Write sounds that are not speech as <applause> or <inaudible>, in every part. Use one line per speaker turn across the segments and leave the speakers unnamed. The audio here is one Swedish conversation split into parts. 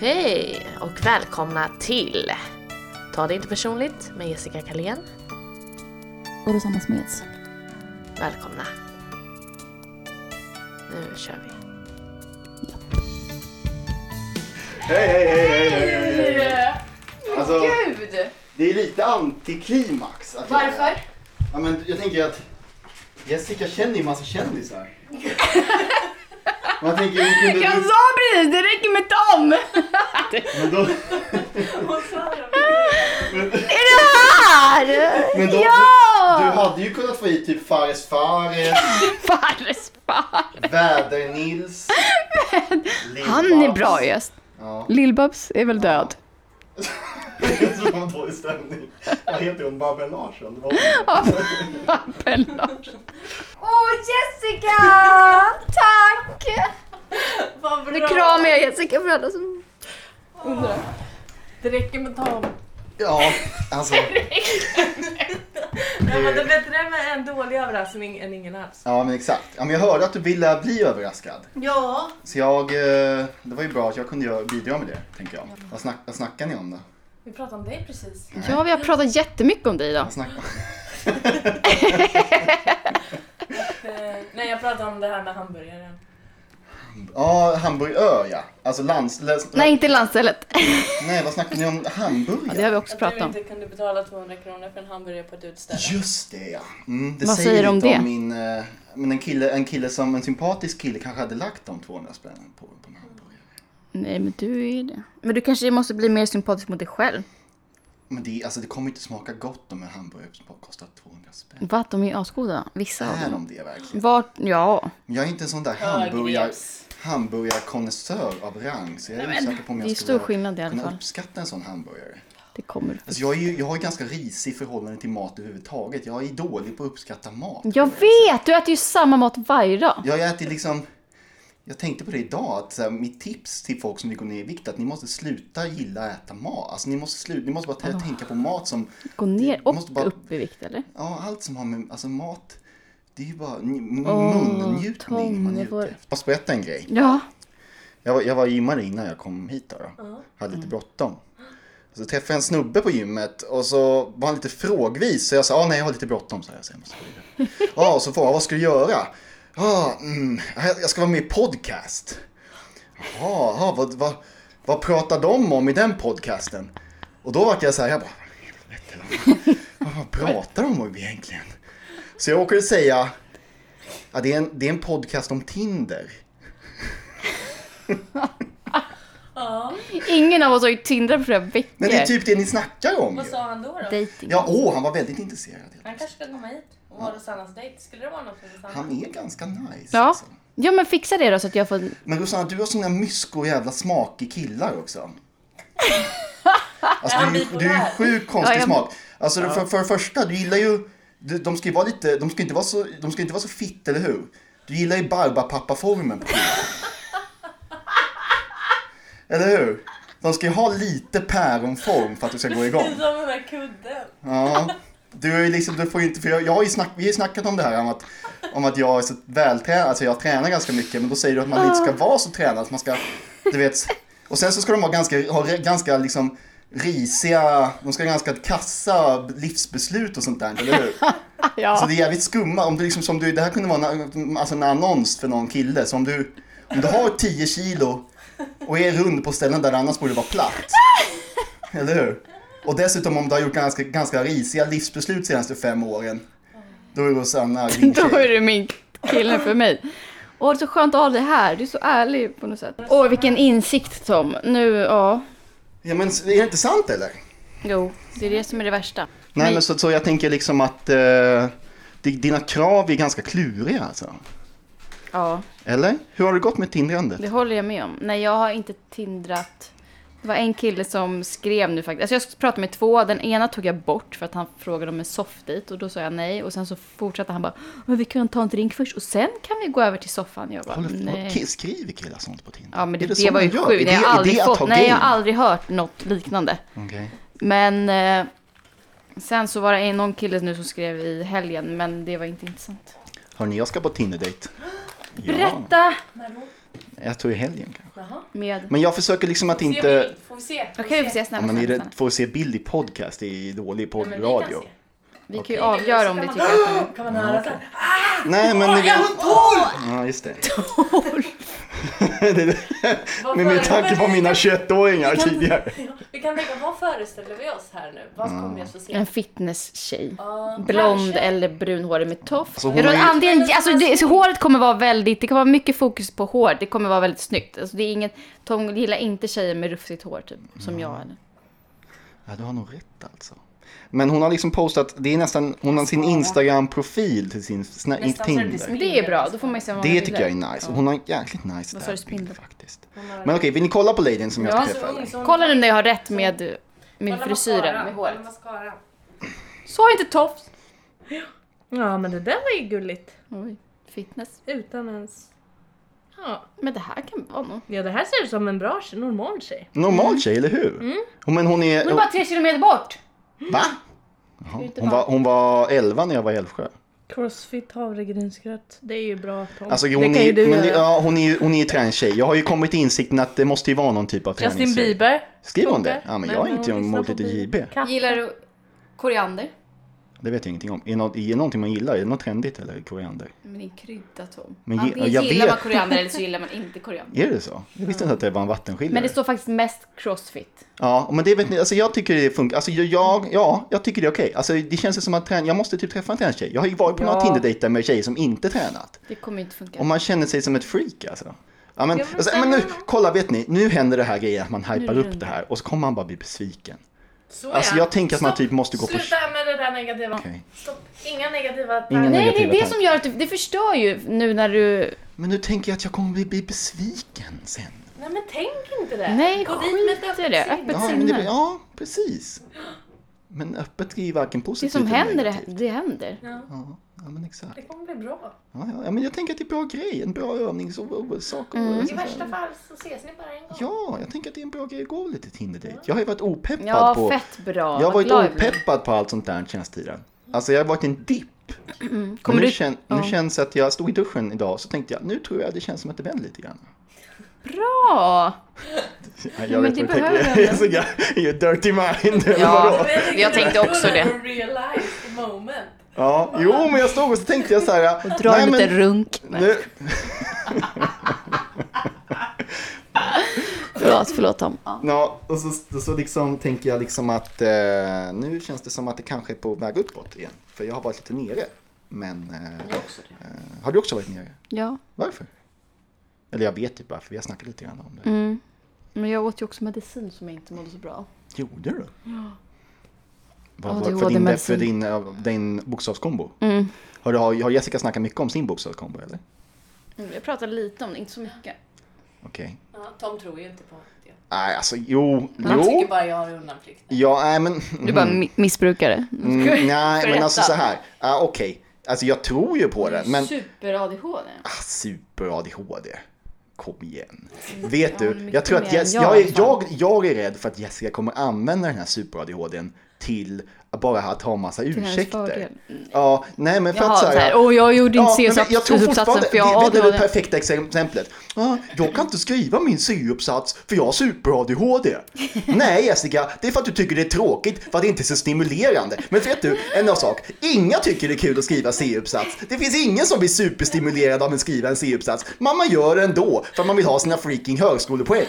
Hej och välkomna till Ta det inte personligt med Jessica Kalén.
Och Rosanna Smeds.
Välkomna. Nu kör vi.
Hej, hej, hej, hej, hej, hej, hej. Alltså,
Gud!
det är lite antiklimax. att göra det.
Varför?
Ja, men jag tänker att Jessica känner ju massa kändisar. Man tänker, hur kunde
Jag
du...
sa precis, det räcker med dem!
Men då,
Är det här?
men då,
Ja!
du, du hade ju kunnat få hit typ Fares Fares,
Fares
Väder-Nils. Lill-Babs.
Han är bra ju.
Ja.
Lill-Babs är väl död?
Det är så dålig stämning. Vad heter hon? Babben Larsson? Det var hon.
Pella.
Åh Jessica! Tack! Vad bra! Nu kramar jag Jessica för alla som...
Det räcker med Tom.
Ja, alltså.
Nej, men det är bättre med en dålig överraskning än ingen alls.
Ja, men exakt. Ja, men jag hörde att du ville bli överraskad.
Ja.
Så jag, eh, det var ju bra att jag kunde göra- bidra med det, tänker jag. Vad, snack, vad snackar ni om då?
Vi pratade om dig precis.
Ja, vi har pratat jättemycket om dig idag.
Vad snack...
Eh, nej, jag pratade om det här med hamburgaren.
Ja, Hamburgö ja. Alltså lands... läs-
Nej, inte landstället.
Nej, vad snackar ni om? Hamburgare?
Det har vi också
Att du
pratat om.
inte kunde betala 200 kronor för en hamburgare på ett utställe.
Just det ja. Mm, det
Vad
säger,
säger du om
lite
det?
Om min, eh, men en kille, en kille som, en sympatisk kille kanske hade lagt de 200 spännen på, på en hamburgare.
Nej, men du är ju det. Men du kanske måste bli mer sympatisk mot dig själv.
Men det, alltså, det kommer inte smaka gott om en hamburgare som bara kostar 200 spänn.
Va? De är ju asgoda. Vissa av
Är
dem.
de det verkligen?
Vart? Ja.
Men jag är inte en sån där hamburgare... hamburgarkonnässör av rang så jag är osäker på om
det är
jag
ju
skulle
stor skillnad i alla
kunna
fall.
uppskatta en sån hamburgare.
Det kommer.
Alltså jag, är ju, jag har ju ganska risig förhållande till mat överhuvudtaget. Jag är dålig på att uppskatta mat.
Jag vet! Du äter ju samma mat varje dag.
Jag äter liksom... Jag tänkte på det idag, att så här, mitt tips till folk som vill gå ner i vikt är att ni måste sluta gilla att äta mat. Alltså ni måste, sluta, ni måste bara tä- tänka på mat som...
Gå ner
Du måste bara-
och upp i vikt, eller?
Ja, allt som har med alltså, mat... Det är ju bara n-
Åh,
munnjutning man
Tom,
är
det var-
ute efter. Fast berätta en grej.
Ja.
Jag var, jag var gymmare innan jag kom hit då. då. Hade
Mm.
lite bråttom. Så träffade jag en snubbe på gymmet och så var han lite frågvis. Så jag sa, ah, nej jag har lite bråttom. Så jag, så jag måste gå vidare.
<laughs>
Ja, och så frågade han, vad ska du göra? Ja, mm, jag ska vara med i podcast. Jaha, jaha, vad, vad, vad pratar de om i den podcasten? Och då vart jag så här, jag bara, "Helvete, vad, vad pratar de om egentligen? Så jag åker säga, ja, det, är en, det är en podcast om Tinder.
Ingen av oss har ju tindrat på flera veckor.
Men det är typ det ni snackar om
Vad
ju.
sa han då? då?
Dating.
Ja, åh, han var väldigt intresserad.
Han kanske ska komma hit och vara Rosannas dejt. Skulle det vara något för Rosanna?
Han är ganska nice.
Ja.
Alltså.
ja, men fixa det då så att jag får...
Men Rosanna, du har såna mysko jävla smakig killar också. Alltså,
Är han
du, du är ju
bipolär?
sjukt konstig
Ja, jag-
smak. Alltså, för, för det första, du gillar ju... Du, de ska ju vara lite... De ska inte vara så, de ska inte vara så fitt, eller hur? Du gillar ju barbapappa-formen på killar. Eller hur? De ska ju ha lite päronform för att du ska gå igång.
Precis som den där kudden.
Ja. Du är ju liksom, du får ju inte, för jag, jag har ju snack, vi har ju snackat om det här om att, om att jag är så vältränad, alltså jag tränar ganska mycket, men då säger du att man inte ska vara så tränad, att man ska, du vet, och sen så ska de ha ganska, ha re- ganska liksom risiga, de ska ha ganska kassa livsbeslut och sånt där, eller hur? Ah, Så
Ja.
det är jävligt skumma, om du liksom, som du, det här kunde vara en, alltså en annons för någon kille, så om du, om du har 10 kilo och är rund på ställen där det annars borde vara
<laughs>
platt, eller hur? Och dessutom om du har gjort ganska, ganska risiga livsbeslut de senaste fem åren, då är Rosanna
<laughs>
din
Då är
tjej.
du min kille för mig. Åh, det är så skönt att ha dig här. Du är så ärlig på något sätt. Åh, vilken insikt Tom. Nu, ja.
Ja men är det inte sant eller?
Jo, det är det som är det värsta.
Nej men så, så jag tänker liksom att eh, di- dina krav är ganska kluriga alltså.
Ja,
Eller? Hur har det gått med tindrandet?
det håller jag med om. Nej, jag har inte tindrat. Det var en kille som skrev nu faktiskt. Alltså jag pratade med två. Den ena tog jag bort för att han frågade om en soffdejt och då sa jag nej. Och sen så fortsatte han bara, "Men vi kan ta en drink först och sen kan vi gå över till soffan. Jag bara,
Håller,
nej.
ki- Skriver killar sånt på Tinder?
Ja men det,
Är
det,
så
var
man
ju
gör?
sjukt.
Är
Nej, jag
det- är
har aldrig,
det att
fått,
ha
nej, jag
game?
har aldrig hört något liknande.
Okej.
Men eh, sen så var det en- någon kille nu som skrev i helgen men det var inte intressant.
Hörni, jag ska på Tinder-dejt. Ja.
Berätta!
När då?
Jag tror i helgen kanske.
Jaha.
Med...
Men jag försöker liksom att
Får vi se
inte...
bild? Får vi se?
Okej, vi får se.
Ja,
Snälla,
men är
snälla,
det,
snälla.
får se bild i podcast, det är dålig
Ja, men vi kan
poddradio.
se.
Vi kan
Okej.
ju avgöra om vi tycker att den är...
Kan man höra sen?
Nej men... Ni vet... Ja just
<laughs>
det. <laughs> Det är-
Vad
Med, med
före-
tanke på
men vi
mina
kan-
21-åringar
vi kan-
tidigare.
Ja, <laughs> Vi kan tänka, vad föreställer vi oss här nu? Vad
Mm.
kommer vi att få se?
En fitness-tjej.
Ja,
Blond
kanske.
eller brunhårig med tofs.
Alltså, hon
jag tror
har
att
ju-
andelen, alltså, det, så håret kommer vara väldigt, det kommer vara mycket fokus på hår. Det kommer vara väldigt snyggt. Alltså, det är inget, Tom gillar inte tjejer med rufsigt hår typ, som
Mm.
jag. Eller.
Ja, du har nog rätt alltså. Men hon har liksom postat, det är nästan, hon har sin Instagram-profil till sin sna,
Nästan så det blir
Tinder.
smidigt.
Det är bra, då får man ju se vad man
Det
vill.
tycker jag är nice. Och hon har en jäkligt nice
Vad sa du,
där bild
spindel?
faktiskt. Men okej, vill ni kolla på ladyn som
Ja,
jag
Så
träffade?
Alltså, ung, så hon-
Kolla nu när jag har rätt med, med
Kolla
frisyren,
mascaran,
med håret.
kolla mascaran.
Så inte tofs!
Ja men det där var ju gulligt.
Oj, fitness.
Utan ens... Ja.
Men det här kan vara något.
ja, det här ser ut som en bra tjej, normal tjej.
Normal tjej, eller hur?
Mm.
Men hon är...
Hon är bara tre kilometer bort!
Va? Jaha, Hon var, hon var 11 när jag var i Älvsjö.
Mm. Crossfit, havregrynsgröt. Det är ju bra Tom.
Alltså,
det
hon,
kan ju
är,
du
men, det-
göra.
ja, hon, är, hon är ju träningstjej. Jag har ju kommit till insikten att det måste ju vara någon typ av
Justin
träningstjej.
Bieber.
Skriver hon det?
Funkar.
Ja, men
Nej,
jag är
men
inte
hon lyssnar
emot
på
lite JB.
Bieber. Kaffe.
Gillar du koriander?
Det vet jag ingenting om. Är det, något, är det någonting man gillar? Är det något trendigt eller koriander?
Men det är en krydda Tom.
Men ge-
Antingen
jag
gillar
vet-
man koriander eller så gillar man inte koriander.
Är det så? Jag visste inte att det var en vattenskiljare.
Men det står faktiskt mest crossfit.
Ja, men det vet ni, alltså jag tycker det funkar. Alltså jag- jag, ja, jag tycker det är okej. Alltså det känns ju som att träna, jag måste typ träffa en tränartjej. Jag har ju varit på några
Ja.
Tinder-dejter med tjejer som inte tränat.
Det kommer ju inte funka.
Och man känner sig som ett freak alltså. Ja, men,
Ja, men
alltså,
sen-
men nu, kolla vet ni, nu händer det här grejen att man hypar
det
upp det
runt.
här och så kommer man bara bli besviken.
Så ja.
Alltså jag tänker att man
Stopp.
typ måste gå på...
Sluta med det där negativa.
Okej.
Stopp. Inga negativa
Inga
tankar.
Nej, det är
negativa
det
tankar.
som gör att du, det förstör ju nu när du...
Men nu tänker jag att jag kommer bli, bli besviken sen.
Nej men tänk inte det.
Nej,
Gå dit
skit
med ett
i det.
sinne.
Öppet
Ja, men det, ja precis. Men öppet är ju varken
Det
positivt
som
eller
händer, det,
negativt.
det händer.
Ja, ja, men exakt.
Det kommer bli bra.
Ja, ja, ja, men jag tänker att det är en bra grej, en bra övningssak. Mm.
I värsta fall så ses ni bara en gång.
Ja, jag tänker att det är en bra grej att gå lite Tinder-dejt. Jag har ju varit opeppad
Ja,
på...
fett bra.
Jag har
Vad
varit
glad jag blir.
opeppad på allt sånt där senaste tiden. Alltså jag har varit i en dipp. Men
Mm. Kommer
nu,
du-
kän, nu
ja.
känns det att jag stod i duschen idag så tänkte jag, nu tror jag det känns som att det vänder lite grann.
Bra!
Ja,
men
Jag vet
det
vad du tänker.
behöver
Jag
jag
är så gar- <laughs> jag är dirty mind eller
Ja.
vadå?
Jag tänkte också det.
Realize the moment.
Ja, jo men jag stod och så tänkte jag så här. Och
Dra en liten runk. Nej.
nu,
Förlåt, förlåt Tom.
Ja, och så, så liksom tänker jag liksom att eh, nu känns det som att det kanske är på väg uppåt igen. För jag har varit lite nere. Men... Eh, eh, har du också varit nere?
Ja,
Varför? Eller jag vet typ varför, vi har snackat lite grann om det.
men jag åt ju också medicin som jag inte mådde så bra av.
Gjorde du? Ja. Vad,
Ja,
vad,
det Mm.
för din,
ADHD-medicin.
för din, eh, din bokstavskombo? Har, du, har, har Jessica snackat mycket om sin bokstavskombo eller?
Mm, Jag pratade lite om det, inte så mycket.
Okej.
Ja, Tom tror ju inte på det.
Nej, alltså jo,
Han tycker
jo.
bara jag har undanflykt.
Ja, nej men...
Du bara mi- missbrukare.
Mm, nej, men
Berätta.
alltså så här. Ah, Okej, alltså jag tror ju på det, men...
Super-ADHD.
Ah, super-ADHD. Kom igen. Vet du,
mycket
jag tror
mer
att Jess,
än
jag,
jag i
är,
alla
jag,
fall.
jag är rädd för att Jessica kommer använda den här super-ADHDn till att bara att ha massa
hennes
ursäkter.
fördel.
Ja, nej men för
Jaha,
att så
såhär,
här,
åh jag gjorde inte
nej, men jag tror
C-uppsatsen
fortfarande,
för jag har
vet du det
ADHD.
perfekta exemplet? Ja, jag kan inte skriva min C-uppsats för jag
<laughs>
har super-ADHD. Nej Jessica, det är för att du tycker det är tråkigt för att det inte är så stimulerande. Men vet du, en annan sak. Inga tycker det är kul att skriva C-uppsats. Det finns ingen som blir superstimulerad av att skriva en C-uppsats. Men man gör det ändå för att man vill ha sina freaking högskolepoäng.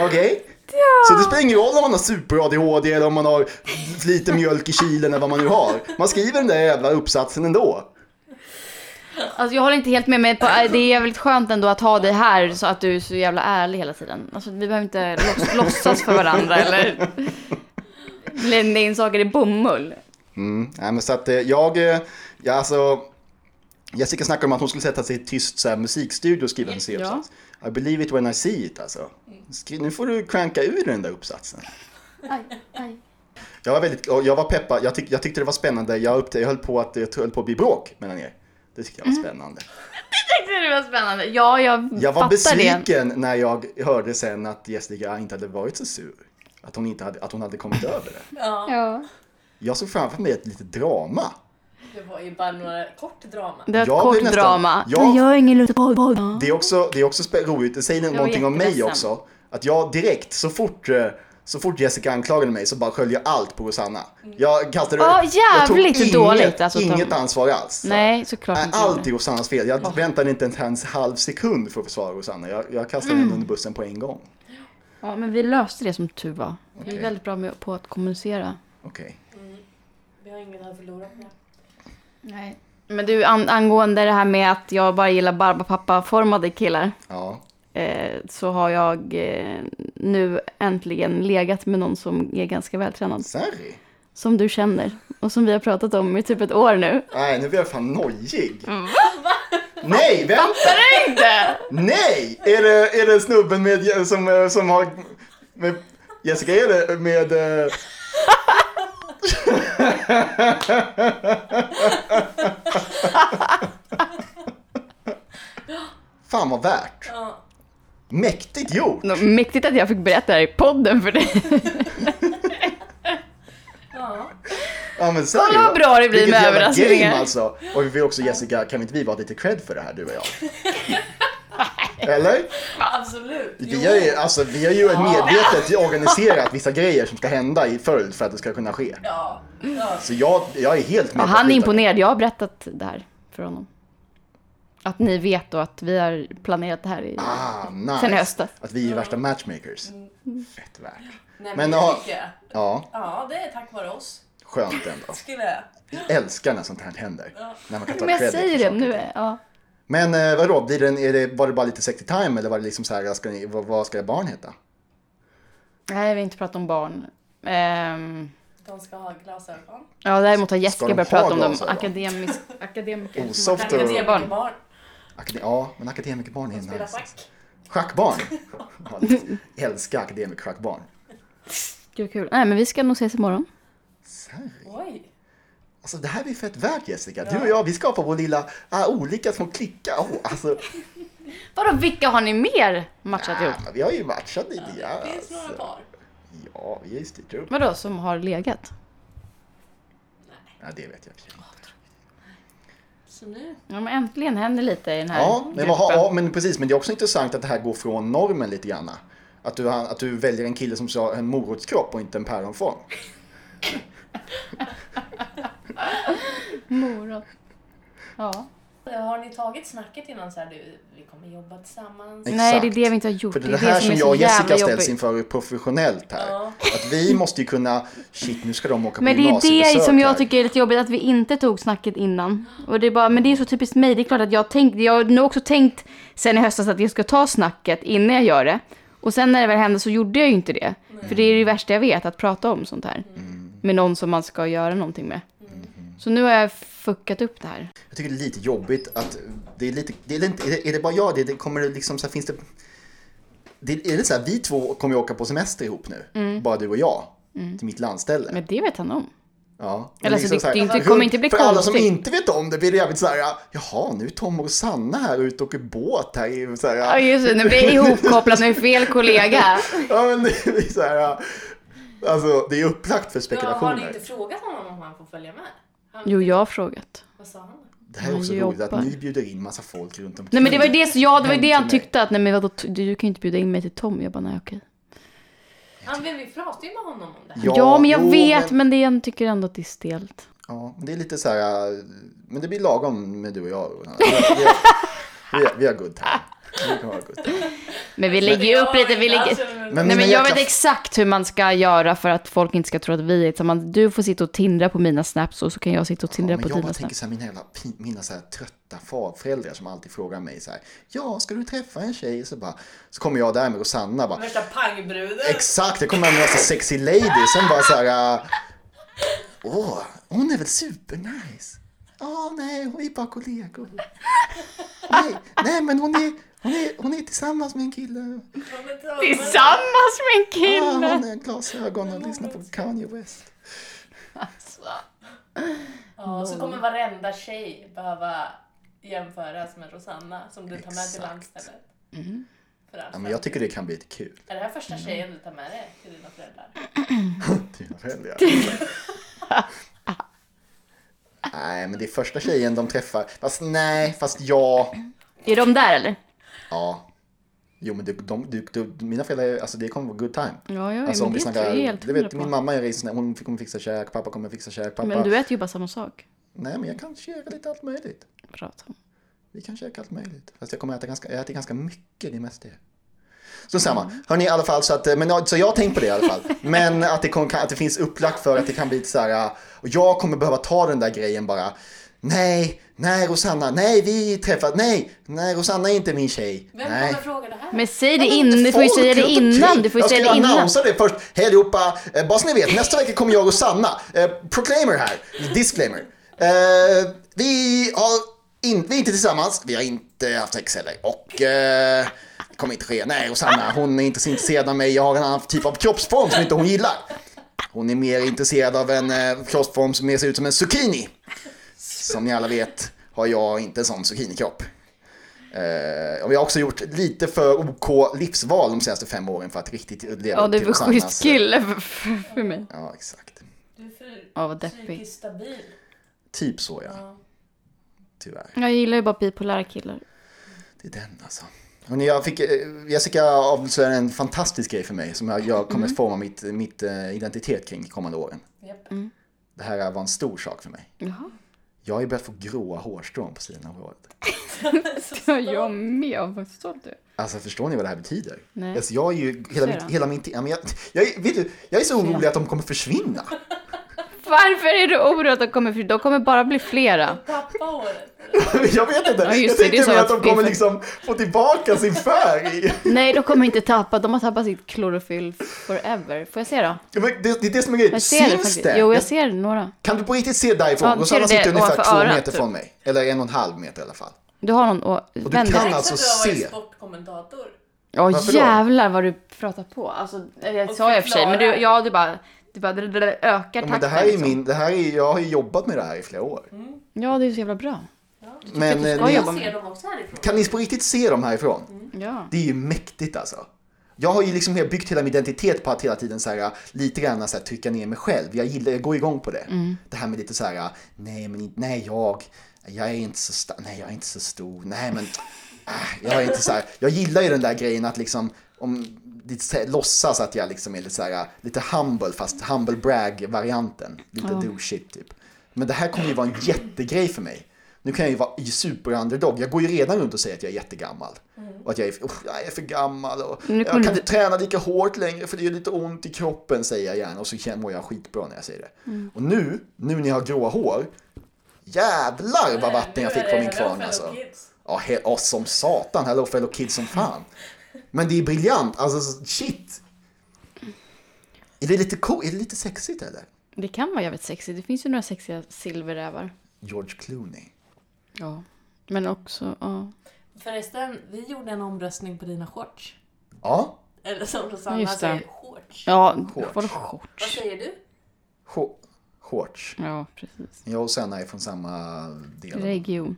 Okej? Så det spelar ingen roll om man har super-ADHD eller om man har lite mjölk i kylen eller vad man nu har. Man skriver den där jävla uppsatsen ändå.
Alltså jag håller inte helt med men på, det är väldigt skönt ändå att ha dig här så att du är så jävla ärlig hela tiden. Alltså vi behöver inte låts,
<laughs>
låtsas för varandra eller blända in saker i bomull.
Mm. Nej, men så att eh, jag, eh, ja, alltså, Jessica snackade om att hon skulle sätta sig i ett tyst så här, musikstudio och skriva en C-uppsats. I believe it when I see it alltså. Skri- nu får du cranka ur den där uppsatsen. Jag var väldigt, och jag var peppad, jag, tyck, jag tyckte det var spännande, jag, upptä- jag höll på att jag höll på att bli bråk mellan er. Det tyckte jag var
Mm.
spännande.
Det var spännande. Ja, jag,
Jag var
fattar det.
besviken när jag hörde sen att Jessica inte hade varit så sur. Att hon, inte hade, att hon hade kommit över det.
Ja.
Ja.
Jag såg framför mig ett litet drama.
Det var ju bara några kort drama.
Det var ett
Jag
kort
blir nästan-
drama. Mm.
Jag-
Jag har ingen lust på boll.
Det är också, det är också spä- roligt, det säger
var
någonting om mig
jätteledsen.
också. Att jag direkt, så fort, eh, så fort Jessica anklagade mig så bara sköljde jag allt på Rosanna. Jag kastade
Mm. Ja,
jag tog
jävligt
inget,
dåligt, alltså, Tom.
inget ansvar alls.
Nej, såklart
Nej,
inte.
Allt är Rosannas fel. Jag väntade inte ens en halv sekund för att försvara Rosanna. Jag, jag kastade henne
Mm.
under bussen på en gång.
Ja, men vi löste det som tur var. Vi
Okej.
är väldigt bra med, på att kommunicera.
Okej.
Vi har inget att förlora på det.
Nej. Men du, an- angående det här med att jag bara gillar barbapapa-formade killar.
Ja.
Eh, så har jag eh, nu äntligen legat med någon som är ganska vältränad.
Sari?
Som du känner. Och som vi har pratat om i typ ett år nu.
Nej, nu blir jag fan nojig.
Mm.
Nej, vänta!
Fattar du inte?
Nej! Är det, är det snubben med, som, eh, som har... Med, Jessica, är det med... eh, Fan vad värt!
Ja.
Mäktigt gjort!
Nå, Mäktigt att jag fick berätta det här i podden för dig.
Ja.
Ja men seriöst.
Kolla vad bra det blir
Vilket
med
jävla
överraskningar.
game, Alltså. Och vi vill också Jessica, kan inte vi vara lite cred för det här du och
<laughs>
jag? Eller?
Absolut.
Vi har ju, alltså, vi har ju medvetet organiserat vissa grejer som ska hända i följd för att det ska kunna ske.
Ja. ja.
Så jag, jag är helt
Ja,
med. på
han
att-
är imponerad. Jag har berättat det här för honom. Att ni vet då att vi har planerat det här i...
Ah, nice.
Sen i höstas.
Att vi är värsta matchmakers. Fett värt.
Nej,
Men
men
ja.
det tycker jag.
Ja,
Ja, det är tack vare oss.
skönt ändå.
Skulle jag.
Jag älskar när sånt här händer. När man kan ta
Men jag
credit
säger
för
det
saker.
nu. är- Ja.
Men eh, vadå, blir den, är det, var det bara lite sexy time eller var det liksom så här, ska ni, vad, vad ska era barn heta?
Nej, vi vill inte prata om barn. Ehm,
De ska ha glasögon.
ja, däremot har
Ska
Jessica
de
börjat
ha
prata om dem.
glasögon?
Akademisk, akademiker.
Osoft
som har-
och-
Akademikerbarn. barn.
Akade- ja, men akademikerbarn är
De spelar
nice.
schack. <laughs>
Schackbarn! Jag Älskar akademiker-schackbarn.
Gud, kul. Nej, men vi ska nog ses imorgon.
Sorry.
Oj.
Alltså det här blir fett värt Jessica. Du och jag, vi skapar vår lilla, ah, olika små klickar. Åh, alltså,
Vadå, vilka har ni mer matchat ihop?
ah, vi har ju matchat lite grann.
Det finns några
Alltså.
par.
Ja, vi har ju styrt upp.
Vadå, som har legat?
Ja, det vet jag. i och för sig.
Så nu.
Ja, men äntligen händer lite i den här
Ja, men, vad-
gruppen.
ja, men precis. Men det är också intressant att det här går från normen lite grann. Att du, att du väljer en kille som har en morotskropp och inte en päronform.
Morot. Ja.
Har ni tagit snacket innan så här, du, vi kommer jobba tillsammans?
Exakt.
Nej, det är det vi inte har gjort.
För det är
är
det här
som är
som jag
så
och Jessica
jävla
ställs
jobbigt.
inför professionellt här.
Ja.
Att vi måste ju kunna, shit nu ska de åka på
Men det är det
gymnasiebesök
som jag
här.
tycker är lite jobbigt, att vi inte tog snacket innan. Och det är bara, men det är så typiskt mig, det är klart att jag tänkte, jag har nog också tänkt sen i höstas att jag ska ta snacket innan jag gör det. Och sen när det väl hände så gjorde jag ju inte det. För det är det värsta jag vet, att prata om sånt här.
Mm.
Med någon som man ska göra någonting med. Så nu har jag fuckat upp det här.
Jag tycker det är lite jobbigt att det är lite, det är, inte, är, det, är det bara jag det, det kommer det liksom så här, finns det, det är det så här, vi två kommer ju åka på semester ihop nu,
Mm.
bara du och jag, till mitt landställe.
Men det vet han om.
ja.
Eller
Men
så det-
så här,
det inte- kommer inte bli
För alla som
konstigt.
inte vet om det blir det jävligt så här, jaha nu är Tom och Sanna här ute och åker båt här i, så här,
Ja just det, nu blir jag ihopkopplad med fel kollega.
ja men det är så här, alltså det är upplagt för
Ja, har ni
spekulationer.
inte frågat honom om han får följa med? Han,
Jo, jag har frågat.
Vad sa han?
det här är också
Vi
roligt
jobbar.
att ni bjuder in massa folk runt omkring.
Nej men det var ju det, så jag, det, var ju det han
Hem till mig.
tyckte att nej men vadå, t- du kan ju inte bjuda in mig till Tom. Jag bara nej okej.
Han, vi pratade ju med honom om det här.
Ja, men jag
jo,
vet men, det, jag tycker ändå att det är stelt.
Ja, men det är lite så här, äh, men det blir lagom med du
<laughs>
och jag. Roland. Vi har, vi har, vi har good time. Vi kan ha good time.
Men vi lägger ju upp lite, vi lägger...
lägger...
Nej
Alltså, mina
men jag
jäkla-
vet exakt hur man ska göra för att folk inte ska tro att vi är tillsammans. Du får sitta och tindra på mina snaps och så kan jag sitta och tindra
Ja,
på
men jag bara
dina
tänker
snaps.
så här, mina, jävla, pin- mina så här trötta farföräldrar som alltid frågar mig så här, ja, ska du träffa en tjej? Så, bara, så kommer jag där med Rosanna bara,
Värsta pangbruden.
exakt, jag kommer med en massa sexy lady. Sen bara så här, äh, åh, hon är väl supernice? Ja, nej, hon är bara kollegor. Nej, nej men hon är, hon, är, hon är tillsammans med en kille.
Tillsammans med en
Ah,
kille!
hon har glasögon och lyssnar på Kanye West. Ah.
Ja, så kommer varenda tjej behöva jämföras med Rosanna som du tar med till
Exakt.
landstället.
Mm.
För
Ja,
allt.
men jag tycker det kan bli lite kul.
Är det här första tjejen du tar med dig till dina föräldrar?
Dina föräldrar. Nej, men det är första tjejen de träffar. Fast nej, fast ja.
Är de där eller?
Ja. Jo, men du, de, du, du, mina föräldrar, är- alltså det kommer vara good time.
Ja, ja,
Alltså,
men det tror jag helt
du vet,
hundra på.
min mamma är rejsen, hon kommer fixa käk, pappa kommer fixa käk, pappa.
Men du äter ju bara samma sak.
Nej, men jag kan käka lite allt möjligt.
Prata om.
Vi kan käka allt möjligt. Fast jag kommer äta ganska, jag äter ganska mycket, det är mest det. Så samma. Hörni, i alla fall så att, eh, men, ja, så jag har tänkt på det i alla
<laughs>
fall. Men att det, kom, kan- att det finns upplagt för att det kan bli lite så här, ah, och jag kommer behöva ta den där grejen bara. Nej, nej Rosanna, nej vi träffas, nej, nej Rosanna är inte min tjej.
Vem
nej.
kommer fråga det här?
Men säg det innan, du får ju
Folk
säga det
runt omkring.
innan. Du får ju säga det
Jag skulle
innan.
annonsera det först. Hej allihopa, eh, bara så ni vet, nästa vecka kommer jag och Sanna. Eh, proclaimer här, disclaimer. Eh, vi, har in, vi är inte tillsammans, vi har inte haft sex heller. Och eh, det kommer inte ske. Nej, Rosanna, hon är inte så intresserad av mig. Jag har en annan typ av kroppsform som inte hon gillar. Hon är mer intresserad av en eh, kroppsform som mer ser ut som en zucchini. Som ni alla vet har jag inte en sån zucchinikropp. Eh, och jag har också gjort lite för OK livsval de senaste fem åren för att riktigt leva
Ja,
upp
du
till alltså.
är
Rosannas-
skyddskille för, för, för mig.
Ja, exakt.
Du är för
Ja, vad deppig.
psykiskt stabil.
Typ så ja,
Ja.
tyvärr.
Jag gillar ju bara bipolära killar.
Det är den alltså. Och när jag fick, eh, Jessica avslöjade en fantastisk grej för mig som jag, jag kommer att forma mitt, mitt eh, identitet kring de kommande åren.
Japp.
Mm.
Det här var en stor sak för mig.
Jaha.
Jag har ju börjat få gråa hårstrån på sidan av håret.
Ja, jag med. Vad stolt du är.
Alltså förstår ni vad det här betyder?
Nej.
Alltså, jag är ju,
Ser
hela mitt,
han?
hela min, ja, men jag, jag, är- vet du, jag är så orolig att de kommer försvinna. <laughs>
Varför är du orolig att de kommer? För de kommer bara bli flera.
Tappa håret.
Jag vet inte,
Ja,
jag
just det, det
tänker
är så
mig att
att
de
vi-
kommer liksom få tillbaka sin färg.
Nej, de kommer inte tappa. De har tappat sitt klorofyll forever. Får jag se då?
Ja, Men det, det är det som är grejen,
Jag ser det
syns
faktiskt.
det?
Jo, jag ser några.
Kan du på riktigt se därifrån?
Ja,
Rosanna
ser du det
sitter ungefär
ovanför
två
örat,
meter
typ?
från mig. Eller en och en halv meter i alla fall.
Du har någon å...
du
Vänd
kan
dig.
ha- alltså
Alltså, du har
se.
varit sportkommentator.
Ja,
Varför då?
jävlar vad du pratar på. Alltså, det
Och
sa jag i och för sig. Men du,
förklara.
ja, du bara... Du bara det, ökar
Ja,
takten.
men det här är
liksom.
min, det här är, jag har ju jobbat med det här i flera år.
Ja, det är så jävla bra.
Men eh,
ska jobba
ni,
Jag
med
ser dem också härifrån.
kan ni på riktigt se dem härifrån?
Ja.
Det är ju mäktigt alltså. Jag har ju liksom helt byggt hela min identitet på att hela tiden så här, äh, lite grann så här, trycka ner mig själv. Jag gillar, jag går igång på det. Det här med lite så här, äh, nej men inte, nej jag, jag är inte så, sta- nej jag är inte så stor, nej men, ah, jag är inte så här. Jag gillar ju den där grejen att liksom, om, lite, så här, låtsas att jag liksom är lite så här, lite humble fast humble brag-varianten. Lite do shit typ. Men det här kommer ju vara en jättegrej för mig. Nu kan jag ju vara super-underdog. Jag går ju redan runt och säger att jag är jättegammal. Och att jag är, usch, jag är för gammal och
Mm. Men nu
jag kan
kommer
inte
du-
träna lika hårt längre för det gör lite ont i kroppen säger jag gärna. Och så känner- mår jag skitbra när jag säger det.
Mm.
Och nu, nu när jag har gråa hår, jävlar vad vatten jag fick på min kvarn alltså. Ja, he- ja som satan. Hello fellow kids som fan. Men det är briljant. Alltså så- shit. Är det lite cool? Är det lite sexigt eller?
Det kan vara jävligt sexigt. Det finns ju några sexiga silverrävar.
George Clooney.
Ja. Men också, ja.
Förresten, vi gjorde en omröstning på dina shorts.
Ja.
Eller som Rosanna
Just det.
säger, shorts.
Ja,
Shorts.
vadå shorts?
Vad säger du?
Sh- shorts.
Ja, precis.
Jag och Sanna är från samma del.
Region.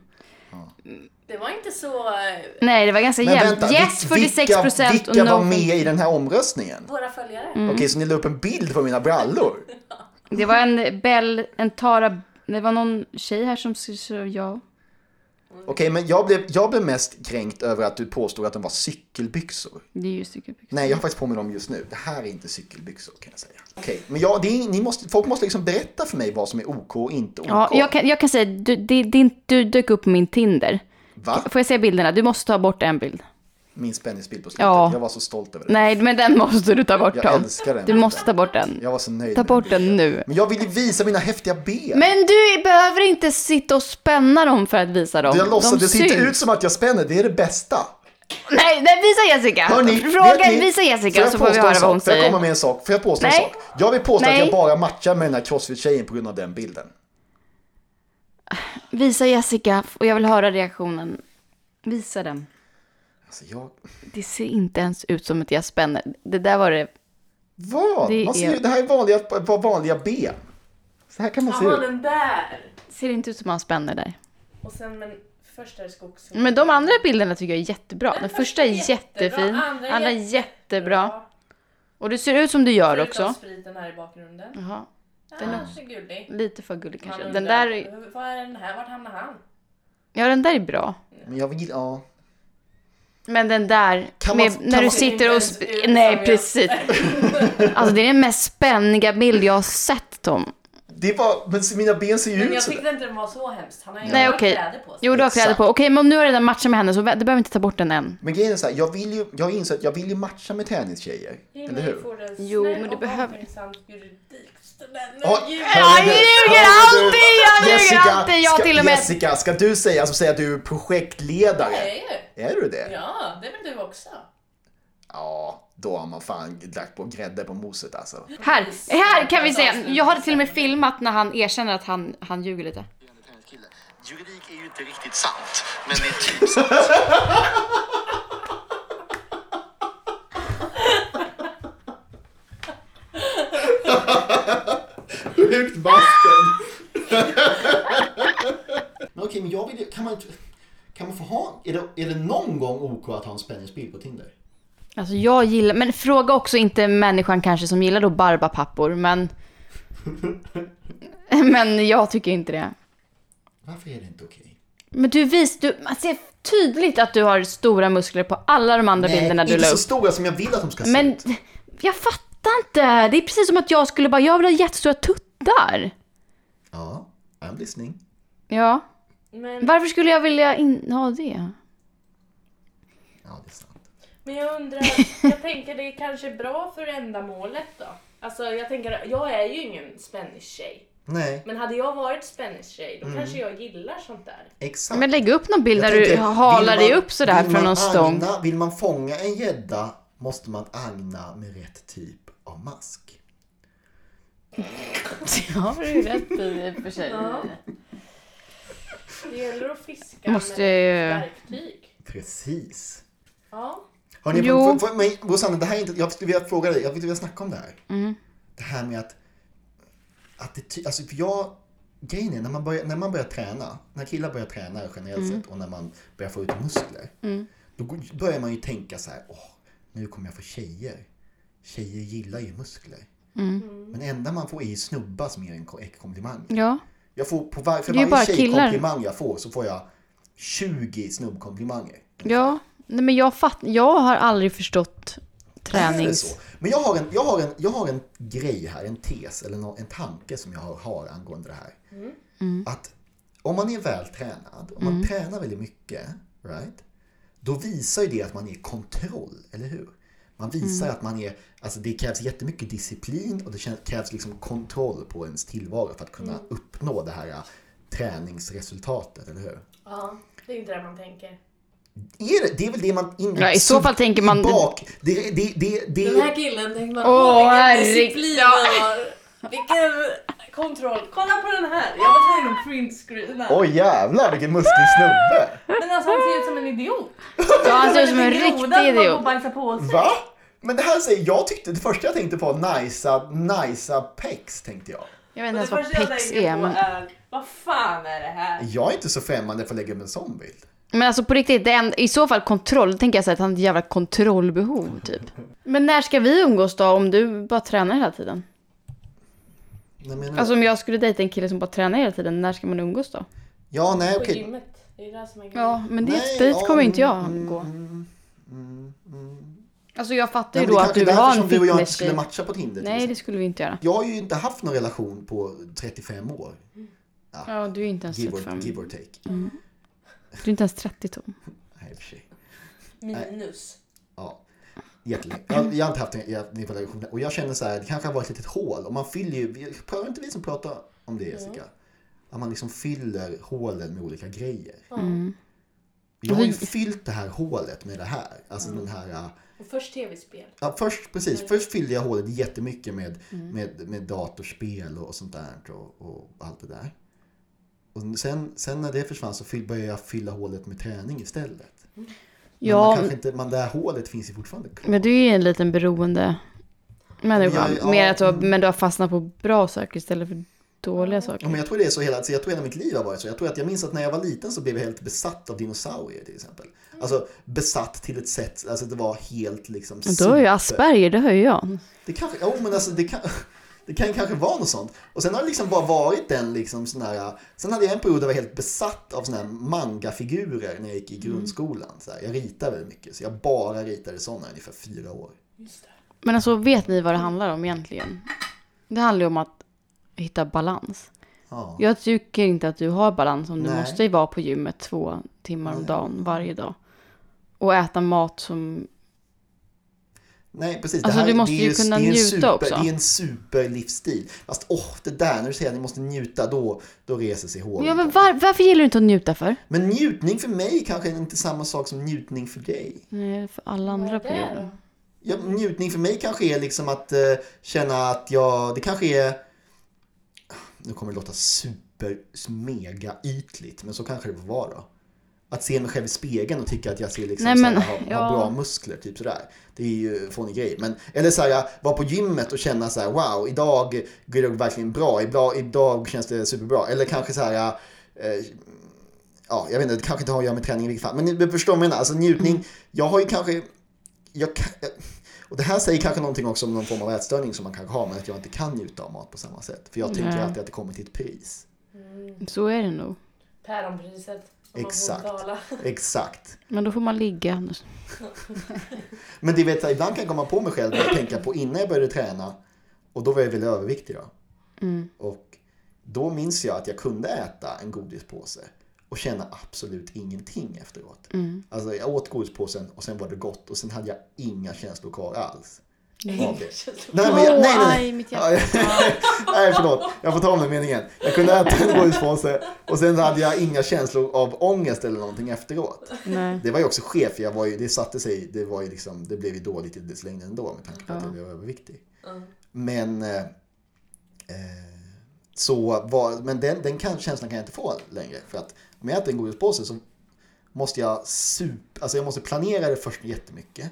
Det var inte så... eh,
Nej, det var ganska
Men
jämnt.
vänta,
Yes,
vil-
46
vilka,
procent.
vilka var med i den här omröstningen?
Våra följare.
Mm.
Okej, så ni la upp en bild på mina brallor?
Det var en Bell, en Tara, det var någon tjej här som skrev ja.
Okej, men jag blev, jag blev mest kränkt över att du påstod att de var cykelbyxor.
Det är ju cykelbyxor.
Nej, jag har faktiskt på mig dem just nu. Det här är inte cykelbyxor kan jag säga. Okej, men jag, det är, ni måste, folk måste liksom berätta för mig vad som är OK och inte OK.
Ja, jag kan, jag kan säga, du, det- din, du dök upp på min Tinder.
Va?
Får jag se bilderna? Du måste ta bort en bild.
Min spänningsbild på slutet.
Ja.
Jag var så stolt över den.
Nej, men den måste du ta bort
Jag
Tom.
älskar den.
Du måste ta bort den.
Jag var så nöjd.
Ta
med
bort den nu.
Men jag ville visa mina häftiga ben.
Men du behöver inte sitta och spänna dem för att visa dem.
jag låtsas,
de
det ser inte
syns.
ut som att jag spänner, det är det bästa.
Nej, nej, visa Jessica!
Hörni,
Alltså, Fråga,
vet ni-
visa
Får
Jessica
jag
så får vi
påstå en
höra vad hon
sak? Får jag komma
säger.
med en sak? Får jag påstå en
Nej.
sak? Jag vill påstå att
Nej.
jag bara matchar med den här crossfit-tjejen på grund av den bilden.
Visa Jessica och jag vill höra reaktionen. Visa den.
Alltså jag...
Det ser inte ens ut som att jag spänner. Det där var det.
Vad?
Det
Det, man ser,
är-
ju- det här är vanliga, var vanliga ben. Så här kan man se
Jaha,
ut.
den där!
Ser inte ut som att han spänner där.
Och sen men först är det skogs...
Men de andra bilderna tycker jag är jättebra. Den första är
första är jättebra,
jättefin.
andra är
Andra är jättebra. Och det ser ut som du gör
Förutom
också.
spriten här i bakgrunden.
Jaha. Den är-
Ja, så gullig.
Lite för gullig kanske.
Man
Den
undrar,
där, är-
"Hur- Vad är den här? Vart hamnar han?
ja den där är bra.
Men jag vill, ja.
Men den där,
Kan man-
med,
kan
när du
man-
sitter och...
Inte ens
Sp-
ut som
nej,
jag.
precis. Alltså det är den mest spänniga bild jag har sett Tom.
Det är bara, men mina ben ser ju
Men
ut
jag
sådär.
tyckte inte den var så hemskt. Han har ju
Nej,
inga
okej.
kläder på sig.
Jo, du har kläder
Exakt.
på. Okej, men om nu har jag redan matchat med henne så vä- du behöver inte ta bort den än.
Men grejen är så här, jag vill ju, jag har insett att jag vill ju matcha med tennistjejer.
Jimmy
Eller hur?
får en
Jo,
snäll
men du
och
behöver-
omtänksam juridikstudent.
Ja,
Nu ljuger
hörru
jag!
jag ljuger
Hörru du,
alltid, jag ljuger alltid, jag
ska,
till och med-
Jessica, ska du säga, alltså, säga att du är projektledare?
Det är ju.
Är du det? Ja.
Ja, det är väl du också?
då har man fan lagt på grädde på moset alltså.
Här, här kan vi se.
Avsnitt.
Jag hade till och med filmat när han erkänner att han, han ljuger lite.
Kille. Juridik är ju inte riktigt sant, men det är typ sant.
Sjukt vasten! <laughs> men okej, men jag vill ju- kan man inte, kan man få ha, är det, är det någon gång OK att ha en spänningsbild på Tinder?
Alltså jag gillar, men fråga också inte människan kanske som gillar då barbapappor, men... <laughs> Men jag tycker inte det.
Varför är det inte okej?
Men du vis, du, man ser tydligt att du har stora muskler på alla de andra bilderna du
Eh, inte
la
så
upp.
stora som jag vill att de ska se
Men
ut.
jag fattar inte. Det är precis som att jag skulle bara, jag vill ha jättestora tuttar.
Ja, I'm listening.
Ja.
Men,
Varför skulle jag vilja in- ha det?
Ja, det är sant.
men jag
<laughs>
undrar, jag tänker det är kanske bra för ändamålet då? Alltså jag tänker, jag är ju ingen Spanish-tjej.
Nej,
Men hade jag varit Spanish-tjej
Mm.
då kanske jag gillar sånt där.
exakt.
Men lägg upp någon bild
Jag
där du
tänker,
halar
vill man-
dig upp sådär
vill
från
man
någon stång. <laughs>
agna- Vill man fånga en gädda måste man agna med rätt typ av mask.
Ja, har du rätt i och för sig.
Det gäller att fiska
Måste ju-
med verktyg.
Precis.
Ja.
Hörrni,
Jo.
för, för, men Rosanna, det här är inte, jag skulle vilja fråga dig, jag skulle vilja snacka om det här.
Mm.
Det här med att, attityd, alltså för jag, grejen är när man börjar, när man börjar träna, när killar börjar träna generellt
Mm.
sett och när man börjar få ut muskler, då går- börjar man ju tänka så här, åh, nu kommer jag få tjejer. Tjejer gillar ju muskler.
Mm.
Men enda man får är ju snubbar som ger en ko- komplimang.
Ja.
Jag får på var, för
Mm. Det är ju
varje
bara killar.
tjejkomplimang jag får så får jag 20 snubbkomplimanger.
Ja. Nej, men jag, fatt, jag har aldrig förstått
Är det
tränings...
så? Men jag har, en, jag, har en, jag har en grej här, en tes eller nå- en tanke som jag har, har angående det här.
Mm.
Att om man är vältränad, om man tränar väldigt mycket, right? Då visar ju det att man är i kontroll, eller hur? Man visar
Mm.
att man är, alltså det krävs jättemycket disciplin och det kän- krävs liksom kontroll på ens tillvaro för att kunna
Mm.
uppnå det här äh, träningsresultatet, eller hur?
ja, det är inte det man tänker.
Är det, det är väl det man... In,
Ja, i så fall tänker man-
Bak, det, det, det, det,
Den här killen tänker man,
Åh,
åh vilken
herregud.
disciplin han har. Vilken kontroll. Kolla på den här. Jag var tvungen att printscreena.
Oj jävlar vilken musklig
<laughs>
snubbe!
Men alltså han ser ut som en idiot.
Ja, han ser ut som en
Grodan
riktig
som håller på
idiot.
att bajsa på sig.
Va? Men det här säger jag tyckte, det första jag tänkte på var nicea, nicea pecs tänkte jag.
Jag vet inte
Och
ens
det
vad
första jag
pex
tänker
är.
på
Men,
är, vad fan är det här?
Jag är inte så främmande för att lägga upp en sån bild.
men alltså på riktigt, det är en, i så fall kontroll. Då tänker jag så här att han har ett jävla kontrollbehov typ. Men när ska vi umgås då om du bara tränar hela tiden?
Nej, men,
Alltså om jag skulle dejta en kille som bara tränar hela tiden, när ska man umgås då?
ja, nej
På
okej.
gymmet. Det är det som är grejen.
Ja, men det,
Nej,
dit
ja,
kommer inte jag
mm,
gå.
mm, mm, mm.
Alltså jag fattar
Nej,
ju
men det
då
är
att du vill
kanske därför
ha en
som du och jag inte skulle
fitness-tjej.
matcha på Tinder till
Nej,
exempel.
det skulle vi inte göra.
Jag har ju inte haft någon relation på 35 år.
Ja, du är inte ens
Give
35.
or,
Du
give or take.
Mm. är inte ens 30 Tom.
Nej, i och för sig.
Minus.
Ja. Jättelänge. Jag, jag har inte haft en, jag, en relation och jag känner så här, det kanske har varit ett litet hål och man fyller ju, vi- pratar inte vi som pratar om det Jessica? Att man liksom fyller hålen med olika grejer.
Mm.
Jag har ju fyllt det här hålet med det här. Alltså den här, äh,
Och först tv-spel.
ja, först, precis, först fyllde jag hålet jättemycket med,
Mm.
med, med datorspel och, och sånt där och, och allt det där. Och sen, sen när det försvann så fyll, började jag fylla hålet med träning istället. Men man
Ja,
kanske inte, man, det här hålet finns ju fortfarande kvar.
men du är ju en liten beroende människa.
Jag- ja,
Mer att du har,
mm.
men du har fastnat på bra saker istället för dåliga
Ja,
saker.
men jag tror det är så hela, så jag tror hela mitt liv har varit så. Jag tror att jag minns att när jag var liten så blev jag helt besatt av dinosaurier till exempel. Alltså besatt till ett sätt, alltså det var helt liksom
Men Du har ju
super-
Asperger, det har ju jag.
Det kanske, ja men alltså det kan... <laughs> Det kan kanske vara något sånt. Och sen har det liksom bara varit den liksom sån här, sen hade jag en period där jag var helt besatt av såna här mangafigurer när jag gick i grundskolan. Så här, jag ritade väldigt mycket, så jag bara ritade sådana i ungefär fyra år.
Men alltså vet ni vad det handlar om egentligen? Det handlar ju om att hitta balans.
Ja.
Jag tycker inte att du har balans om du
Nej.
måste ju vara på gymmet två timmar om
Nej.
dagen varje dag. Och äta mat som...
Nej, precis.
Alltså, du måste ju kunna
det är en
njuta
super,
också.
Det är en superlivsstil. Fast åh, det där när du säger att ni måste njuta, då, då reser sig håret.
Ja, men var, varför gillar du inte att njuta för?
Men njutning för mig kanske inte är samma sak som njutning för dig.
Nej, för alla andra på jorden.
Ja, njutning för mig kanske är liksom att eh, känna att jag, det kanske är... Nu kommer det låta super, mega ytligt, men så kanske det får vara då. Att se mig själv i spegeln och tycka att jag ser liksom
Nej, men,
såhär, har,
<laughs> ja.
har bra muskler, typ sådär. Det är ju en fånig grej. Men, eller såhär, vara på gymmet och känna såhär, wow, idag går det verkligen bra, idag, idag känns det superbra. Eller kanske såhär, eh, ja, jag vet inte, det kanske inte har att göra med träning i vilket fall. Men ni förstår vad jag menar, alltså njutning, jag har ju kanske, jag kan, och det här säger kanske någonting också om någon form av ätstörning som man kanske har, men att jag inte kan njuta av mat på samma sätt. För jag tycker
Nej.
alltid att det kommer till ett pris.
Så är det nog.
Päronpriset. om man får
Exakt.
betala. <laughs>
Exakt.
Men då får man ligga annars.
Men det vet jag, ibland kan jag komma på mig själv och tänka på innan jag började träna, och då var jag väldigt överviktig då.
Mm.
Och då minns jag att jag kunde äta en godispåse och känna absolut ingenting efteråt.
Mm.
Alltså jag åt godispåsen och sen var det gott och sen hade jag inga känslor kvar alls. Av det. Nej, men jag, nej, nej.
Aj, mitt hjärta.
Ja, Nej förlåt, jag <laughs> får ta om den meningen. Jag kunde äta en godispåse och sen hade jag inga känslor av ångest eller någonting efteråt.
Nej.
Det var ju också chef, jag var ju, det satte sig, det, var ju liksom, det blev ju dåligt i dess längd ändå med tanke på att jag blev överviktig. Men, eh, eh, så var, men den, den kan, känslan kan jag inte få längre. För att om jag äter en godispåse så måste jag sup, alltså jag måste planera det först jättemycket.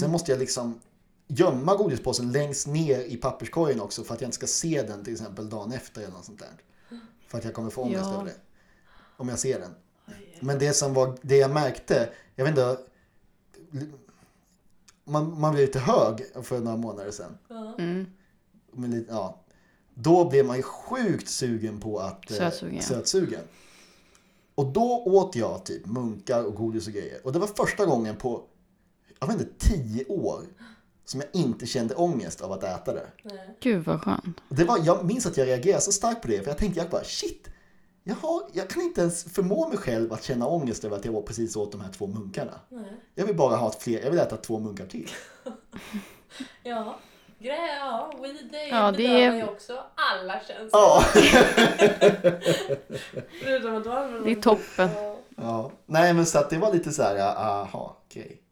Sen måste jag liksom gömma godispåsen längst ner i papperskorgen också för att jag inte ska se den till exempel dagen efter eller något sånt där. För att jag kommer få ångest
Ja.
över det. Om jag ser den. Men det som var, det jag märkte, jag vet inte. Man, man blev lite hög för några månader sedan.
Mm.
Men lite, ja. Då blev man ju sjukt sugen på att eh,
Sötsugen, ja.
sötsugen. Och då åt jag typ munkar och godis och grejer. Och det var första gången på, jag vet inte, tio år som jag inte kände ångest av att äta det.
Gud vad skönt.
Och Det var, jag minns att jag reagerade så starkt på det, för jag tänkte jag bara shit, jag, har, jag kan inte ens förmå mig själv att känna ångest över att jag precis åt de här två munkarna. Jag vill bara ha ett fler, jag vill äta två munkar till.
Ja. Grejer, ja. Weed är-
Ja, det
bedövar
är-
ju också alla känslor.
Ja.
<laughs> Förutom att du använder
Det är toppen.
ja. Nej men så att det var lite så här, ah, aha, grej.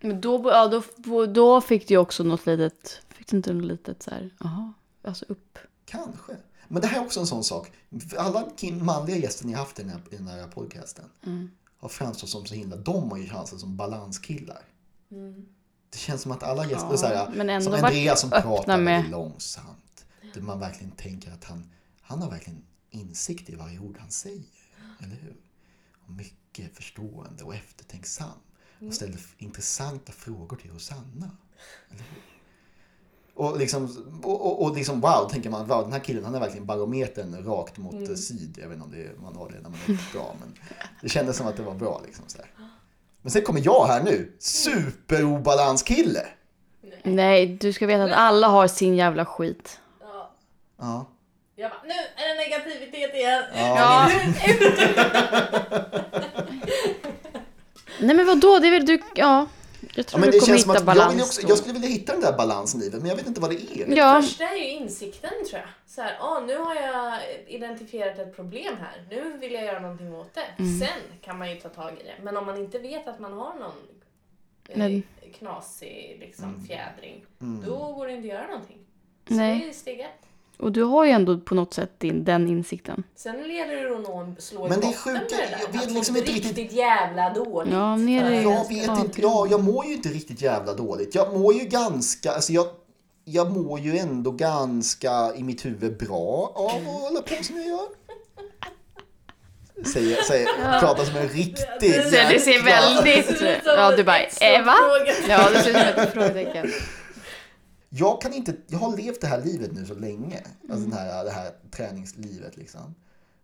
Men då, ja, då, då fick du ju också något litet, fick du inte något litet så här, aha, alltså upp.
Kanske. Men det här är också en sån sak. För Alla ki- manliga gäster ni har haft i den här, i den här podcasten
Mm.
har framstått som så himla... De har ju chansen som balanskillar. Det känns som att alla gäster...
Mm. Ja,
så här,
men ändå
som
varit
Andreas som
öppna
pratar
med-
väldigt långsamt. Där man verkligen tänker att han, han har verkligen insikt i varje ord han säger. Eller hur? Och mycket förstående och eftertänksam.
Mm.
Och ställer f- intressanta frågor till Rosanna. Och liksom, och, och, och liksom wow, tänker man, wow, den här killen han är verkligen barometern rakt mot
Mm.
eh, syd. Jag vet inte om det, är- man har det när man är bra, men det kändes som att det var bra. Liksom, så här. Men sen kommer jag här nu, superobalanskille!
Nej, du ska veta att alla har sin jävla skit.
Ja.
Ja.
Jag bara, nu är det negativitet igen.
Ja.
<laughs> Nej men vadå, det är väl du, ja. Jag
Ja,
tror
men
du
det
kommer
känns som
hitta
att jag, vill ju
balans
också,
då.
jag skulle vilja hitta den där balansen i det, men jag vet inte vad det är.
Ja,
Första är ju insikten tror jag. Så här, ah, nu har jag identifierat ett problem här. Nu vill jag göra någonting åt det.
Mm.
Sen kan man ju ta tag i det. Men om man inte vet att man har någon eh,
Nej.
knasig liksom,
Mm.
fjädring, då går det inte att göra någonting. Så
Nej.
det är steg ett.
och du har ju ändå på något sätt din, den insikten.
Sen leder det att någon slår
Men det är
botten
sjuka-
med det där.
jag vet
Att
liksom
må
inte riktigt-
riktigt jävla dåligt.
Ja, ner i-
för-
Jag vet inte, ja, jag mår ju inte riktigt jävla dåligt. Jag mår ju ganska, alltså jag, jag mår ju ändå ganska i mitt huvud bra av att hålla på som jag gör. Säger, säger, pratar som en riktig
Så det ser
jäkla-
väldigt... Ja, du bara,
Ett stort
Eva?
frågetecken.
Ja, det ser ut som ett frågetecken.
Jag kan inte, jag har levt det här livet nu så länge. Alltså den här, det här träningslivet liksom.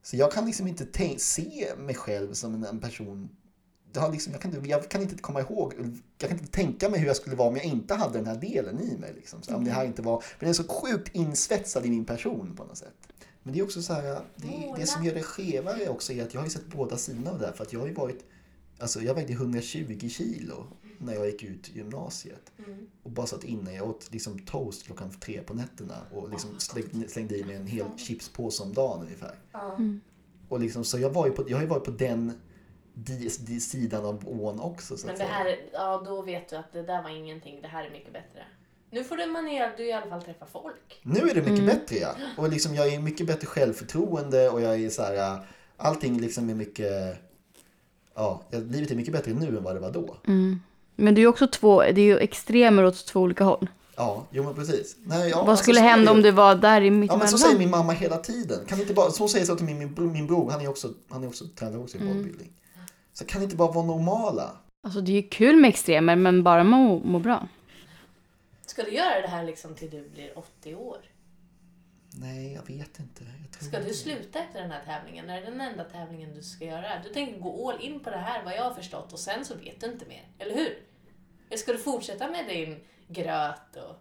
Så jag kan liksom inte tän- se mig själv som en, en person. Det har liksom, jag, kan inte, jag kan inte komma ihåg, jag kan inte tänka mig hur jag skulle vara om jag inte hade den här delen i mig. Liksom. Så, om det här inte var, för den är så sjukt insvetsad i min person på något sätt. Men det är också så här, eh, det, det som gör det skevare också är att jag har ju sett båda sidorna av det här. För att jag har ju varit, alltså jag vägde 120 kilo när jag gick ut gymnasiet.
Mm.
Och bara satt inne, jag åt liksom toast klockan tre på nätterna och
Ah.
liksom slängde, slängde i mig en hel chipspåse om dagen ungefär. Och liksom, så jag, var ju på, jag har ju varit på den di, di, sidan av ån också. Så
Men
att
det
säga.
här, ja då vet du att det där var ingenting, det här är mycket bättre. Nu får du maner, du i alla fall träffa folk.
Nu är det
Mm.
mycket bättre ja. Och liksom, jag är mycket bättre självförtroende och jag är så här, äh, allting liksom är mycket, ja, livet är mycket bättre nu än vad det var då.
Mm. Men det är ju också två, det är ju extremer åt två olika håll.
Ja, jo men precis. Nej, ja,
Vad
alltså,
skulle
så är
hända
det ju.
om du var där i
Ja
mittemellan?
men så säger min mamma hela tiden. Kan inte bara, så säger jag så till min, min, bro, min bror, han är också, han är också tränare också i
Mm.
bodybuilding. Så kan ni inte bara vara normala?
Alltså det är ju kul med extremer, men bara må, må bra.
Ska du göra det här liksom till du blir 80 år?
Nej, jag vet inte. Jag tror
Ska du
inte.
sluta efter den här tävlingen? Är det den enda tävlingen du ska göra? Du tänker gå all in på det här vad jag har förstått och sen så vet du inte mer, eller hur? Eller ska du fortsätta med din gröt och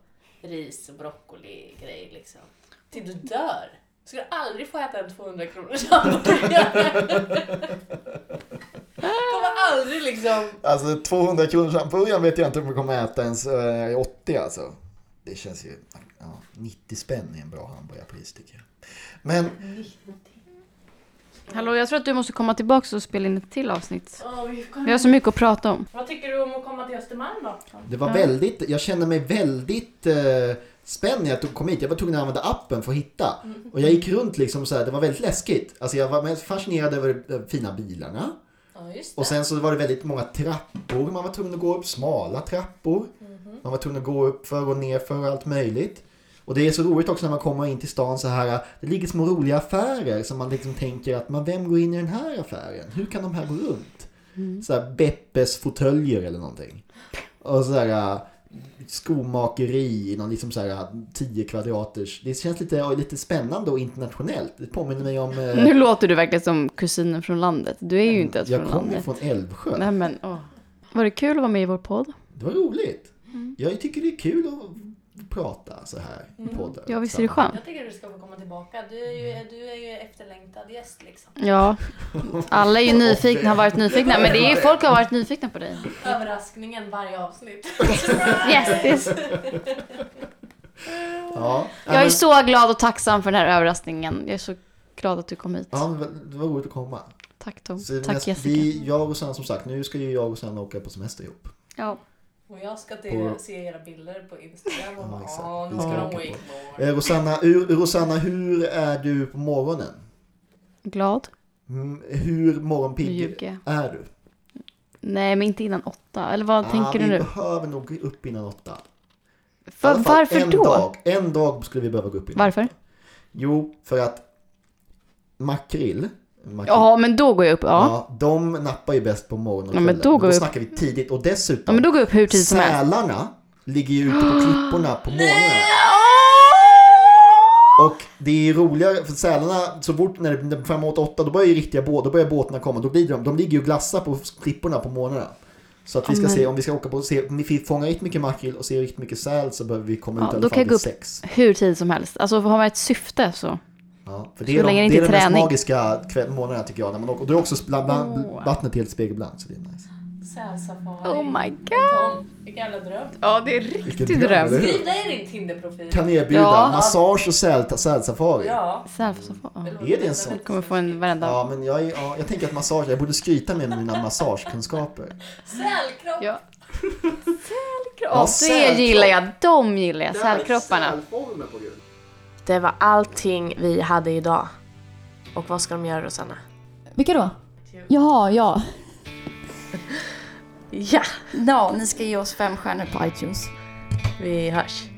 ris och broccoli-grej liksom? Till du dör? Ska du aldrig få äta en 200
<laughs>
kronors hamburgare? Kommer aldrig liksom...
Alltså 200 kronors hamburgaren vet jag inte om jag kommer äta ens eh, 80 alltså. Det känns ju, ja, 90 spänn är en bra hamburgarpris tycker jag. Men
Hallå, jag tror att du måste komma tillbaka och spela in ett till avsnitt.
Ja, vi
Vi
kommer-
har så mycket att prata om.
Vad tycker du om att komma till Östermalm då?
det var väldigt, jag kände mig väldigt eh, spänd när jag tog- kom hit. Jag var tvungen att använda appen för att hitta. Och jag gick runt liksom så här, det var väldigt läskigt. Alltså jag var mest fascinerad över de fina bilarna.
Ja, just
Och
det.
sen så var det väldigt många trappor man var tvungen att gå upp, smala trappor.
Mhm.
Man var tvungen att gå upp för och ner för och allt möjligt. Och det är så roligt också när man kommer in till stan så här, det ligger små roliga affärer som man liksom tänker att, men vem går in i den här affären? Hur kan de här gå runt?
Mm.
Så här Beppes fåtöljer eller någonting. Och så här, skomakeri i någon liksom så här 10 kvadraters. Det känns lite, och lite spännande och internationellt. Det påminner mig om... eh, Mm.
Nu låter du verkligen som kusinen från landet. Du är ju inte ens
jag
från
kom ju
landet.
från Älvsjö.
Nej men, åh. Var det kul att vara med i vår podd?
Det var roligt. Jag tycker det är kul att prata så här i podden.
Ja, visst är det skönt?
Jag tycker du ska få komma tillbaka. Du är ju, du är ju efterlängtad gäst liksom.
Ja. Alla är ju nyfikna, har varit nyfikna. Men det är ju folk har varit nyfikna på dig.
Överraskningen varje avsnitt.
Yes, yes.
Ja,
Jag är
men-
så glad och tacksam för den här överraskningen. Jag är så glad att du kom hit.
ja, men det var roligt att komma.
Tack Tom.
Så
Tack
näst-
Jessica.
Vi, jag och Sanna som sagt, nu ska ju jag och Sanna åka på semester ihop.
Ja.
Och jag ska
På-
till, se era bilder på Instagram och
Ja,
bara
exakt.
"Åh, nu
Vi ska
ska de
åka på-
wakeboard.
Eh, Rosanna, ur, Rosanna, hur är du på morgonen?
Glad.
Mm, Hur
Nu
morgonpigg
ljuger jag.
är du? Ah,
Nej, men inte innan åtta. Eller vad tänker
vi
du nu?
behöver nog gå upp innan åtta. I
För,
alla fall
varför
en
då?
Dag, en dag skulle vi behöva gå upp innan
Varför?
åtta. Jo, för att makrill, makrill
Ja, men då går jag upp. Ja.
Ja, de nappar ju bäst på morgonen och
Ja, men
kvällen.
då går
då
vi upp.
snackar vi tidigt och
ja,
dessutom
men då går jag upp hur tidigt som helst.
sälarna ligger ju ute på klipporna
<gasps>
på morgonen. Och det är roligare för sälarna så fort när det är framåt åtta då börjar ju riktiga båt, då börjar båtarna komma. Då glider de. De ligger ju och glassar på klipporna på morgonerna. Så att vi
Ja,
ska
men-
se om vi ska åka på och se, om vi fångar riktigt mycket makrill och ser riktigt mycket säl så behöver vi komma
Ja,
ut i alla
då kan
fall
jag gå
vid
upp.
sex.
Hur tidigt som helst. Alltså har man ett syfte så.
Ja, för
Så
det är, de,
länge det
det
inte
är
är
de mest
träning.
magiska kväll, månaderna tycker jag. När man åker, och då är också bland, bland,
Åh.
vattnet helt spegelblankt så det är nice.
Sälsafari.
Oh my god.
Tom, Vilken jävla dröm.
Ja, det är
Vilken
riktigt
dröm, eller
dröm.
hur?
Skriv dig i din Tinder-profil.
kan erbjuda
Ja.
massage och säl- sälsafari. Ja.
Ja.
Sälfosofa. Ja.
Är det en sån?
Kommer få en varenda.
men jag, är- ja, jag tänker att massage, jag borde skryta med mina massagekunskaper.
Sälkropp.
<laughs>
Ja.
Ja,
Sälkropp.
sälkropp.
Det gillar jag. De gillar jag. Sälkropparna.
Det var allting vi hade idag. Och vad ska de göra Rosanna?
Vilka då? Jaha, ja.
Ja,
Ja, ni ska ge oss fem stjärnor på iTunes.
vi hörs.